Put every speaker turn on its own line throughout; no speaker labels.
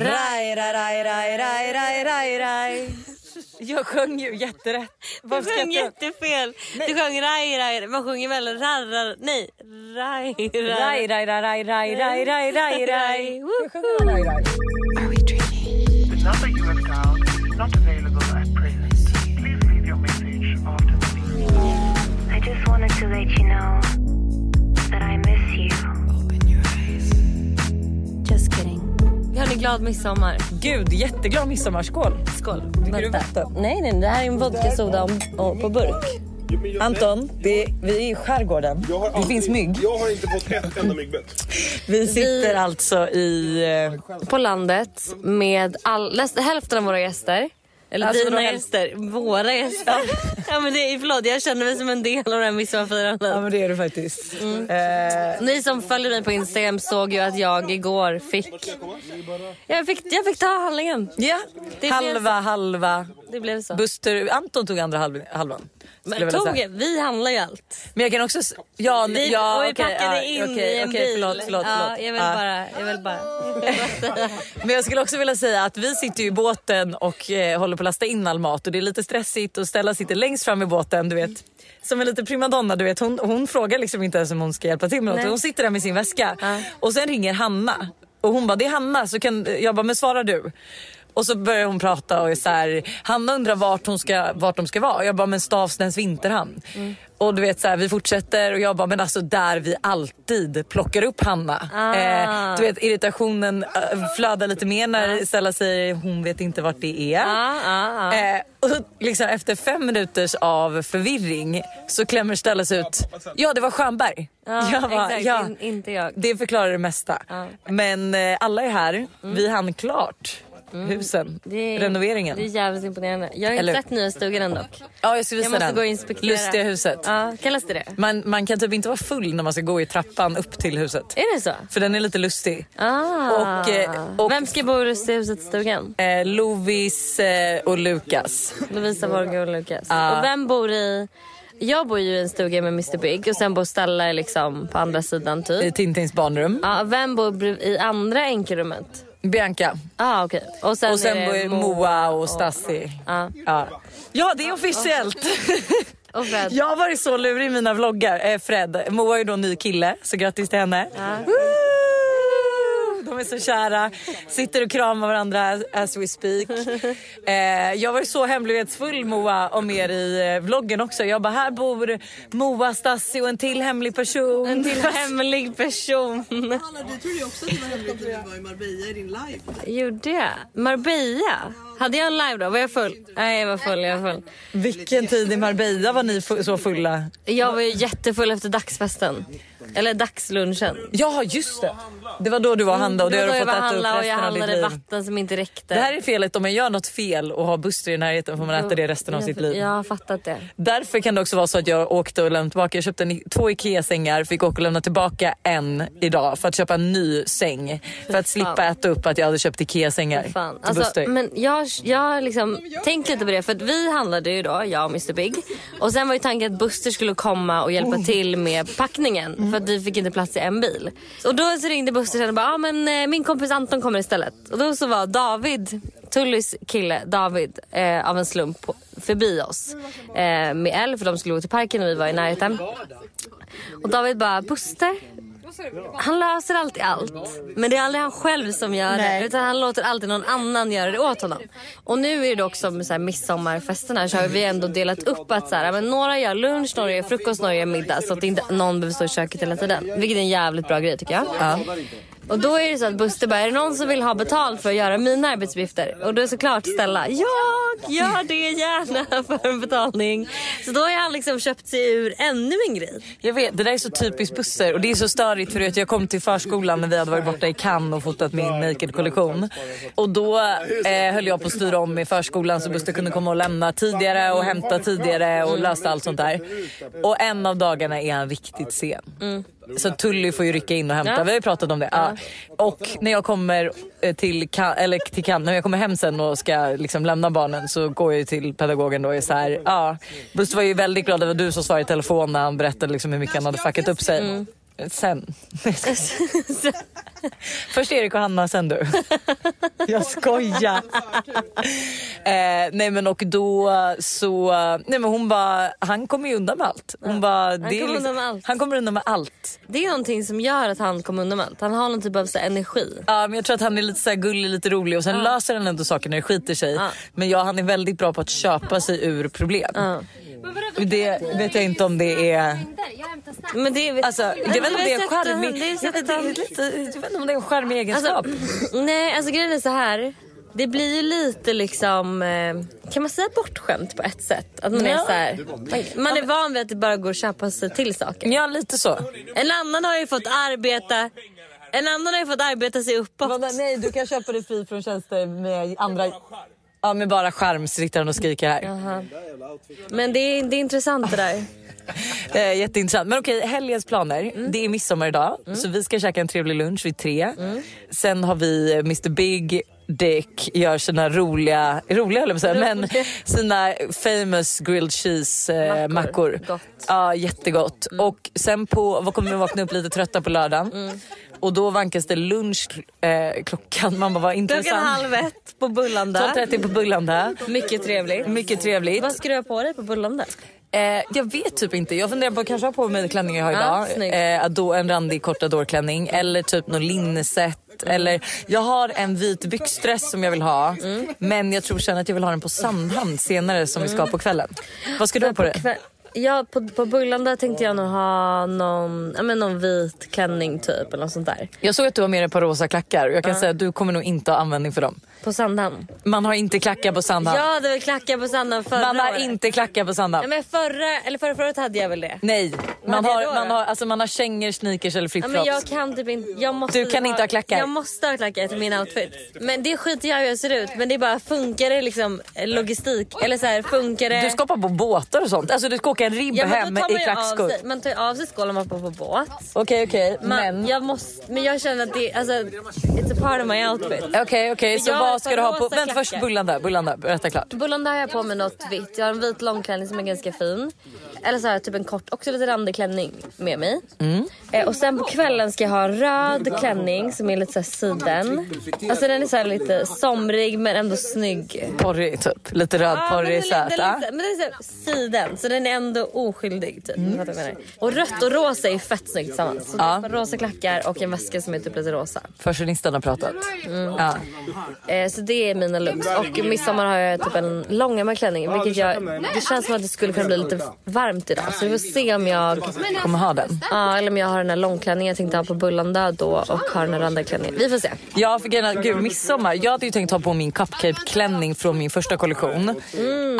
Raj, raj, raj, raj, raj, raj, raj, raj. Jag sjöng ju jätterätt.
Du
Varför ska
sjöng
jag ta upp?
jättefel. Du sjöng raj, raj. Man sjunger väl rarrar... Nej, raj,
Raj, raj,
raj.
raj, raj, raj, raj, raj, raj, raj. Jag sjunger raj, raj.
The number you have dialed is not available at present. Please leave your message after the beep.
I just wanted to let you know that I miss you. Just kidding.
Hörni, glad midsommar.
Gud, jätteglad midsommarskål.
Skål.
Vänta.
Nej, nej, det här är en vodkasoda om- om- på burk.
Anton, det är, vi är i skärgården.
Jag har
Det finns mygg.
Jag har inte fått ett enda myggbett.
Vi sitter alltså i... eh,
På landet med all, näst- hälften av våra gäster. Eller
Alltså,
dina
vadå
gäster. Våra gäster. ja, men det är, förlåt, jag känner mig som en del av det här midsommarfirandet.
Ja, men det är det faktiskt. Eh,
Ni som följer mig på Instagram såg ju att jag igår fick... Jag fick, jag fick ta handlingen.
Ja,
Det blev-
halva, halva.
Det blev så.
Buster, Anton tog andra halv, halvan. skulle jag
Men
vilja säga.
tog, vi handlar ju allt.
Men jag kan också... s- Ja,
Vi,
ja,
och vi
okej,
packade
ja,
in
okej,
i en
okej,
bil.
Förlåt, förlåt,
ja,
förlåt.
Jag vill
Ja.
bara... Jag vill bara.
Men jag skulle också vilja säga att vi sitter ju i båten och eh, håller på att lasta in all mat och det är lite stressigt och Stella sitter längst fram i båten, du vet. Som en liten primadonna, du vet. Hon, hon frågar liksom inte ens om hon ska hjälpa till med något.
Nej.
Hon sitter där med sin väska och sen ringer Hanna och hon bara, det är Hanna. Så kan, jag bara, men svarar du? Och så börjar hon prata och är så här, Hanna undrar vart, hon ska, vart de ska vara. Jag bara, men Stavsnäs vinterhamn. Och du vet så här, vi fortsätter och jag bara, men alltså där vi alltid plockar upp Hanna. Eh, du vet irritationen eh, flödar lite mer när Stella säger hon vet inte vart det är.
Ja, ja, ja.
Eh, och liksom efter fem minuters av förvirring så klämmer Stella sig ut. Ja det var Stjernberg.
Ja,
Jag bara,
exakt.
"Ja."
In, inte jag.
Det förklarar det mesta. Men eh, alla är här. Vi hann klart husen,
Mm. Det är,
renoveringen.
Det är jävligt imponerande. Jag har
Eller-
inte sett nya stugan än dock.
Ja, jag ska visa
Jag måste
den.
gå och inspektera.
Lustiga huset.
Ja, kallas det det?
Man, man kan typ inte vara full när man ska gå i trappan upp till huset.
Är det så?
För den är lite lustig.
Ah.
Och, eh, och-
Vem ska bo i Rustiga huset stugan?
Eh, Lovis eh, och Lukas.
Lovisa Borge och Lukas. Och vem bor i... Jag bor ju i en stuga med Mr Big och sen bor Stella liksom på andra sidan typ.
I Tintins barnrum.
Ja, vem bor brev- i andra enkelrummet?
Bianca.
Ah, okej. Och sen,
Och sen
är det
bor Moa och Stassi.
Ja.
Ja. ja, det är officiellt.
och Fred.
Jag har varit så lurig i mina vloggar. Eh, Fred, Moa är ju då ny kille, så grattis till henne. Woo! De är så kära, sitter och kramar varandra as we speak. Eh, jag var ju så hemlighetsfull Moa om er i eh, vloggen också. Jag bara, här bor Moa, Stassi och en till hemlig person.
En till hemlig person.
Hanna, du trodde ju också att det var hemligt när du var i Marbella i din live.
Gjorde jag? Marbella? Hade jag en live då? Var jag full? Nej, jag var full. Jag var full.
Vilken tid i Marbella var ni fu- så fulla?
Jag var ju jättefull efter dagsfesten. Eller dagslunchen.
Ja, just det. Det var då du var och handlade och det
var
har du
Mm, då jag
fått äta
var
upp
handla och jag
resten av ditt
handlade
liv.
vatten som inte räckte.
Det här är felet, om man gör något fel och har Buster i närheten får man äta det resten av sitt liv.
Jag har fattat det.
Därför kan det också vara så att jag åkte och lämnade tillbaka. Jag köpte en, två IKEA-sängar, fick åka och lämna tillbaka en idag för att köpa en ny säng. För att slippa äta upp att jag hade köpt IKEA-sängar.
Fan.
till
Alltså,
Buster.
men jag, jag liksom, tänk lite på det. För att vi handlade ju då, jag och Mr Big. Och sen var ju tanken att Buster skulle komma och
Oh.
hjälpa till med packningen. För att vi fick inte plats i en bil. Och då så ringde Buster sen och bara, ah, men eh, min kompis Anton kommer istället. Och då så var David, Tullys kille David, eh, av en slump på, förbi oss. Eh, med L för de skulle gå till parken och vi var i närheten. Och David bara, Buster. Han löser alltid allt. Men det är aldrig han själv som gör det. Utan han låter alltid någon annan göra det åt honom. Och nu är det dock som så här, midsommarfesterna så har vi ändå delat upp att så här, men några gör lunch, några gör frukost, några gör middag. Så att inte någon behöver stå i köket hela tiden. Vilket är en jävligt bra grej tycker jag. Och då är det så att Buster bara, är det någon som vill ha betalt för att göra mina arbetsuppgifter? Och då är såklart Stella, jag gör det gärna för en betalning. Så då har han liksom köpt sig ur ännu en grej.
Jag vet, det där är så typiskt Buster och det är så störigt för att jag kom till förskolan när vi hade varit borta i Cannes och fotat min Naked-kollektion. Och då eh, höll jag på att styra om i förskolan så Buster kunde komma och lämna tidigare och hämta tidigare och lösa allt sånt där. Och en av dagarna är han riktigt sen. Så Alltså, Tully får ju rycka in och hämta.
Ja.
Vi har ju pratat om det. Ja. Och när jag kommer eh, till Ka- eller till Cannes, när jag kommer hem sen och ska liksom lämna barnen så går jag ju till pedagogen då och är så här,
Mm.
ja. Buster var ju väldigt glad över du som svarade i telefon när han berättade liksom hur mycket han hade fuckat upp sig. Sen. Först Erik och Hanna, sen du. Jag skojar. Eh, nej men och då så, eh, nej men hon bara, han kommer ju undan med allt. Hon bara, det är
kommer
liksom-
undan med allt.
Han kommer undan med allt.
Det är någonting som gör att han kommer undan med allt. Han har någon typ av så här, energi.
Ja men jag tror att han är lite så här gullig, lite rolig och sen löser han ändå saker när det skiter sig. Men ja, han är väldigt bra på att köpa sig ur problem. Det vet jag inte om det är...
Men det är...
Alltså, jag vet inte om det är en charmig...
Det är
Jag vet-
sättet
det är
han-
lite- jag vet inte om det är en charmig egenskap.
Alltså, nej, alltså grejen är så här. Det blir ju lite liksom, eh, kan man säga bortskämt på ett sätt? Att man är
Ja.
så här, man är van vid att det bara går att köpa sig till saker.
ja lite så.
En annan har ju fått arbeta, en annan har ju fått arbeta sig uppåt.
Vadå, nej, du kan köpa dig fri från tjänster med andra... Ja, med bara skärm sitter han och skriker här.
Men det är, det är intressant det där.
Eh, jätteintressant. Men okej, helgens planer.
Mm.
Det är midsommar idag, så vi ska käka en trevlig lunch vid tre.
Mm.
Sen har vi eh, Mr Big Dick gör sina roliga, roliga höll jag på att säga, men sina famous grilled cheese eh,
Mackor.
mackor.
Gott. Mm.
Ja, jättegott. Och sen på, vad kommer vi vakna upp lite trötta på lördagen. Och då vankas det lunch eh, klockan, man bara vad intressant.
Klockan halv ett på Bullanda.
12.30 på Bullanda.
Mycket trevligt.
Mycket trevligt.
Vad ska du ha på dig på Bullanda?
Eh, jag vet typ inte. Jag funderar på att kanske ha på mig klänningen jag har
Ja,
idag.
snyggt.
eh, då en randig kortadorklänning eller typ någon linneset. Eller, jag har en vit byxdress som jag vill ha men jag tror sen att jag vill ha den på Sandhamn senare som vi ska ha på kvällen. Vad ska du ha på dig?
Kväll- Ja, på, på Bullanda tänkte jag nog ha någon, ja, men någon vit klänning typ eller något sånt där.
Jag såg att du har med dig ett par rosa klackar och jag kan säga att du kommer nog inte ha användning för dem.
På Sandhamn.
Man har inte klackar på Sandhamn.
Jag hade väl klackar på Sandhamn förra
Man har
året.
inte klackar på Sandhamn.
Nej, men förra, eller förra, förra året hade jag väl det.
Nej, man
hade jag
har,
då
man
då?
har, alltså man har kängor, sneakers eller
Ja, men
flipflops.
jag kan typ inte, jag måste
Du kan inte ha klackar.
Jag måste ha klackar till min outfit. Men det skiter jag i hur jag ser ut. Men det är bara, funkar det liksom eh, logistik? Eller så här, funkar det...
Du ska hoppa på båtar och sånt. Alltså du ska åka en ribb
ja, men då
hem
tar man
i
ju
klackskor.
av sig- Man tar ju av sig skålen man hoppar på båt.
Okej okej,
Man,
men...
Jag måste, men jag känner att det, alltså, it's a part of my outfit.
Okej okej, så
Jag har
vad
ett
ska
par
du ha på...
rosa
Vänta först,
klackar.
Bullanda, Bullanda, berätta klart.
Bullanda har jag på mig något vitt. Jag har en vit långklänning som är ganska fin. Eller så har jag typ en kort, också lite randig klänning med mig. Eh, och sen på kvällen ska jag ha en röd klänning som är lite såhär siden. Alltså den är såhär lite somrig men ändå snygg.
Porrig typ, lite
Ja,
rödporrig,
men, den är-
söt.
den är
ja.
lite- men den är så här siden så den är ändå oskyldig. Typ. Fattar du vad jag menar? Och rött och rosa är fett snyggt tillsammans. Så
Ja.
ett par rosa klackar och en väska som är typ lite rosa.
Fashionistan har pratat. Ja.
Eh, så det är mina looks. Och midsommar har jag typ en långärmad klänning. Vilket jag, det känns som att det skulle kunna bli lite varmt idag. Så vi får se om jag,
Kommer ha den.
ja, eller om jag har den här långklänningen jag tänkte ha på Bullanda då och har den här andra klänningen. Vi får se.
Ja, för grejen är- gud, midsommar. Jag hade ju tänkt ha på min cupcape-klänning från min första kollektion.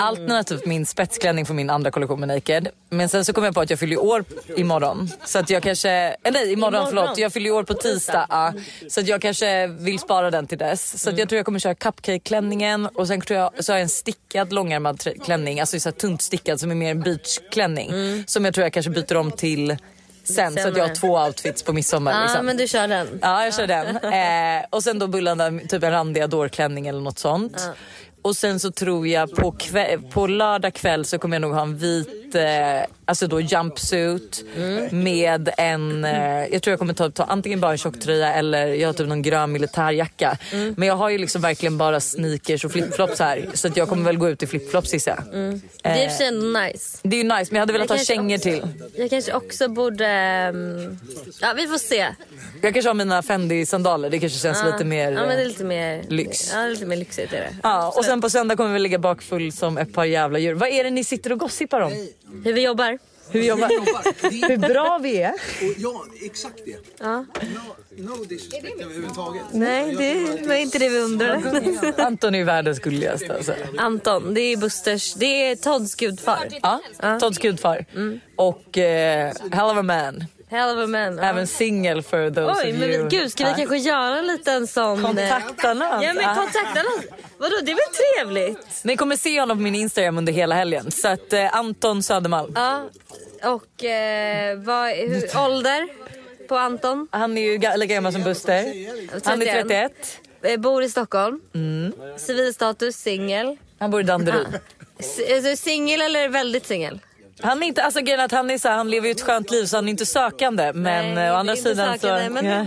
Alternativt min spetsklänning från min andra kollektion med Naked. Men sen så kom jag på att jag fyller ju år imorgon. Så att jag kanske... eh, Nej, imorgon,
Imorgon.
förlåt. Jag fyller ju år på tisdag. ja. Så att jag kanske vill spara den till dess. Så att jag tror jag kommer köra cupcake-klänningen och sen tror jag, så har jag en stickad långärmad trä- klänning. Alltså så här tunt stickad som är mer en beachklänning. Som jag tror jag kanske byter om till sen. Så att jag har
Senare.
två outfits på midsommar.
Ja,
liksom.
men du kör den.
Ja, jag kör den. Eh, och sen då Bullanda, typ en randig adorklänning eller något sånt. Och sen så tror jag på, kväll, på lördag kväll så kommer jag nog ha en vit eh, alltså då jumpsuit
Mm.
med en, eh, jag tror jag kommer ta, ta antingen bara en tjocktröja eller jag har typ någon grön militärjacka.
Mm.
Men jag har ju liksom verkligen bara sneakers och flipflops här så att jag kommer väl gå ut i flipflops gissar jag.
Mm.
Eh,
Det är i och för sig ändå nice.
Det är ju nice men jag hade velat
Jag
ha
kanske
kängor
också-
till.
Jag kanske också borde... ehm, Ja, vi får se.
Jag kanske har mina Fendi-sandaler, det kanske känns lite mer...
Ja, men det är lite mer...
lyx.
Ja, lite mer lyxigt är det.
Ja, och sen på söndag kommer vi ligga bakfull som ett par jävla djur. Vad är det ni sitter och gossipar om?
Hur vi jobbar.
Hur, jobbar,
Det
hur
är-
bra vi är?
och Ja, exakt det. No, no disrespect överhuvudtaget.
Nej, det var inte det vi undrade.
Anton är världens gulligaste. Alltså.
Anton, det är Busters... Det är Todds gudfar.
Ja, Todds gudfar.
Mm.
Och eh, hell of a man.
Hell of a man. Ja.
Även singel för those
Oj,
of
men
you.
vi- gud, ska vi
Ja.
kanske göra en liten sån... eh,
Kontakta någon.
Ja, men kontakta någon. Vadå, det är väl trevligt?
Ni kommer se honom på min Instagram under hela helgen. Så att, eh, Anton Södermalm.
Ja. Och eh, vad, hur, ålder på Anton?
Han är ju ga- lika gammal som Buster. Han är 31.
Eh, Bor i Stockholm.
Mm.
Civilstatus, singel.
Han bor i Danderyd.
S- alltså, Singel eller väldigt singel?
Han är inte, alltså grejen är att han är så här, han lever ju ett skönt liv så han är inte sökande. Men
Nej,
eh, å andra
inte
sidan så...
sökande, men-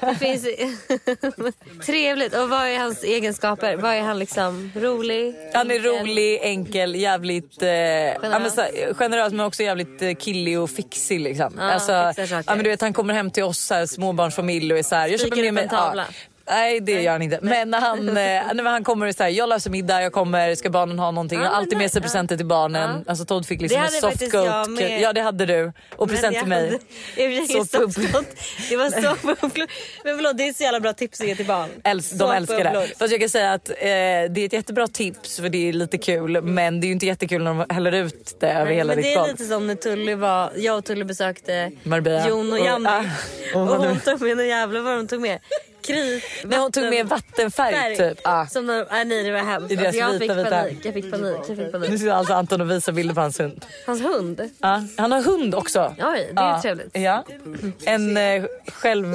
Ja.
Det finns... Trevligt. Och vad är hans egenskaper? Vad är han liksom? Rolig?
Han är rolig, enkel, jävligt eh, generös. Ja, men, så, här, generös men också jävligt eh, killig och fixig. Liksom.
Ja,
alltså,
fixar
ja,
saker.
men du vet, han kommer hem till oss, så här, småbarnsfamilj och är så här, jag
Sticker
köper med
upp
mig...
en tavla.
Ja, nej det gör han inte. Men när han, eh, nej, men han kommer och säger jag löser middag, jag kommer, ska barnen ha någonting?
Ja,
jag har
men
alltid med sig
nej, ja.
presenter till barnen.
Ja.
Alltså Todd fick liksom en
Det hade
soft
faktiskt
coat.
jag med.
Ja det hade du. Och present till mig.
Så
Såpa upp.
Det var så Men förlåt, det är så jävla bra tips att ge till barn.
Äls- de
Såpa
älskar
upp
det.
lågt.
Fast jag kan säga att eh, det är ett jättebra tips för det är lite kul men det är ju inte jättekul när de häller ut det över hela
men det
ditt
är
golv.
lite som när Tully var, jag och Tully besökte
Marbella.
Jon och
Och-
Janni.
ah, och
och
vad
hon
nu?
tog med, och jävlar vad de tog med. Krit,
Men hon tog med vattenfärg, typ. Ah.
Som de, ah, nej det var hemskt.
I deras
jag,
vita,
fick
vita.
panik, jag fick panik, jag fick
Nu
panik.
sitter alltså Anton och visar bilder på hans hund.
Hans hund.
Ja, han har hund också.
Oj, det är
Ja,
ju trevligt.
Ja. En eh,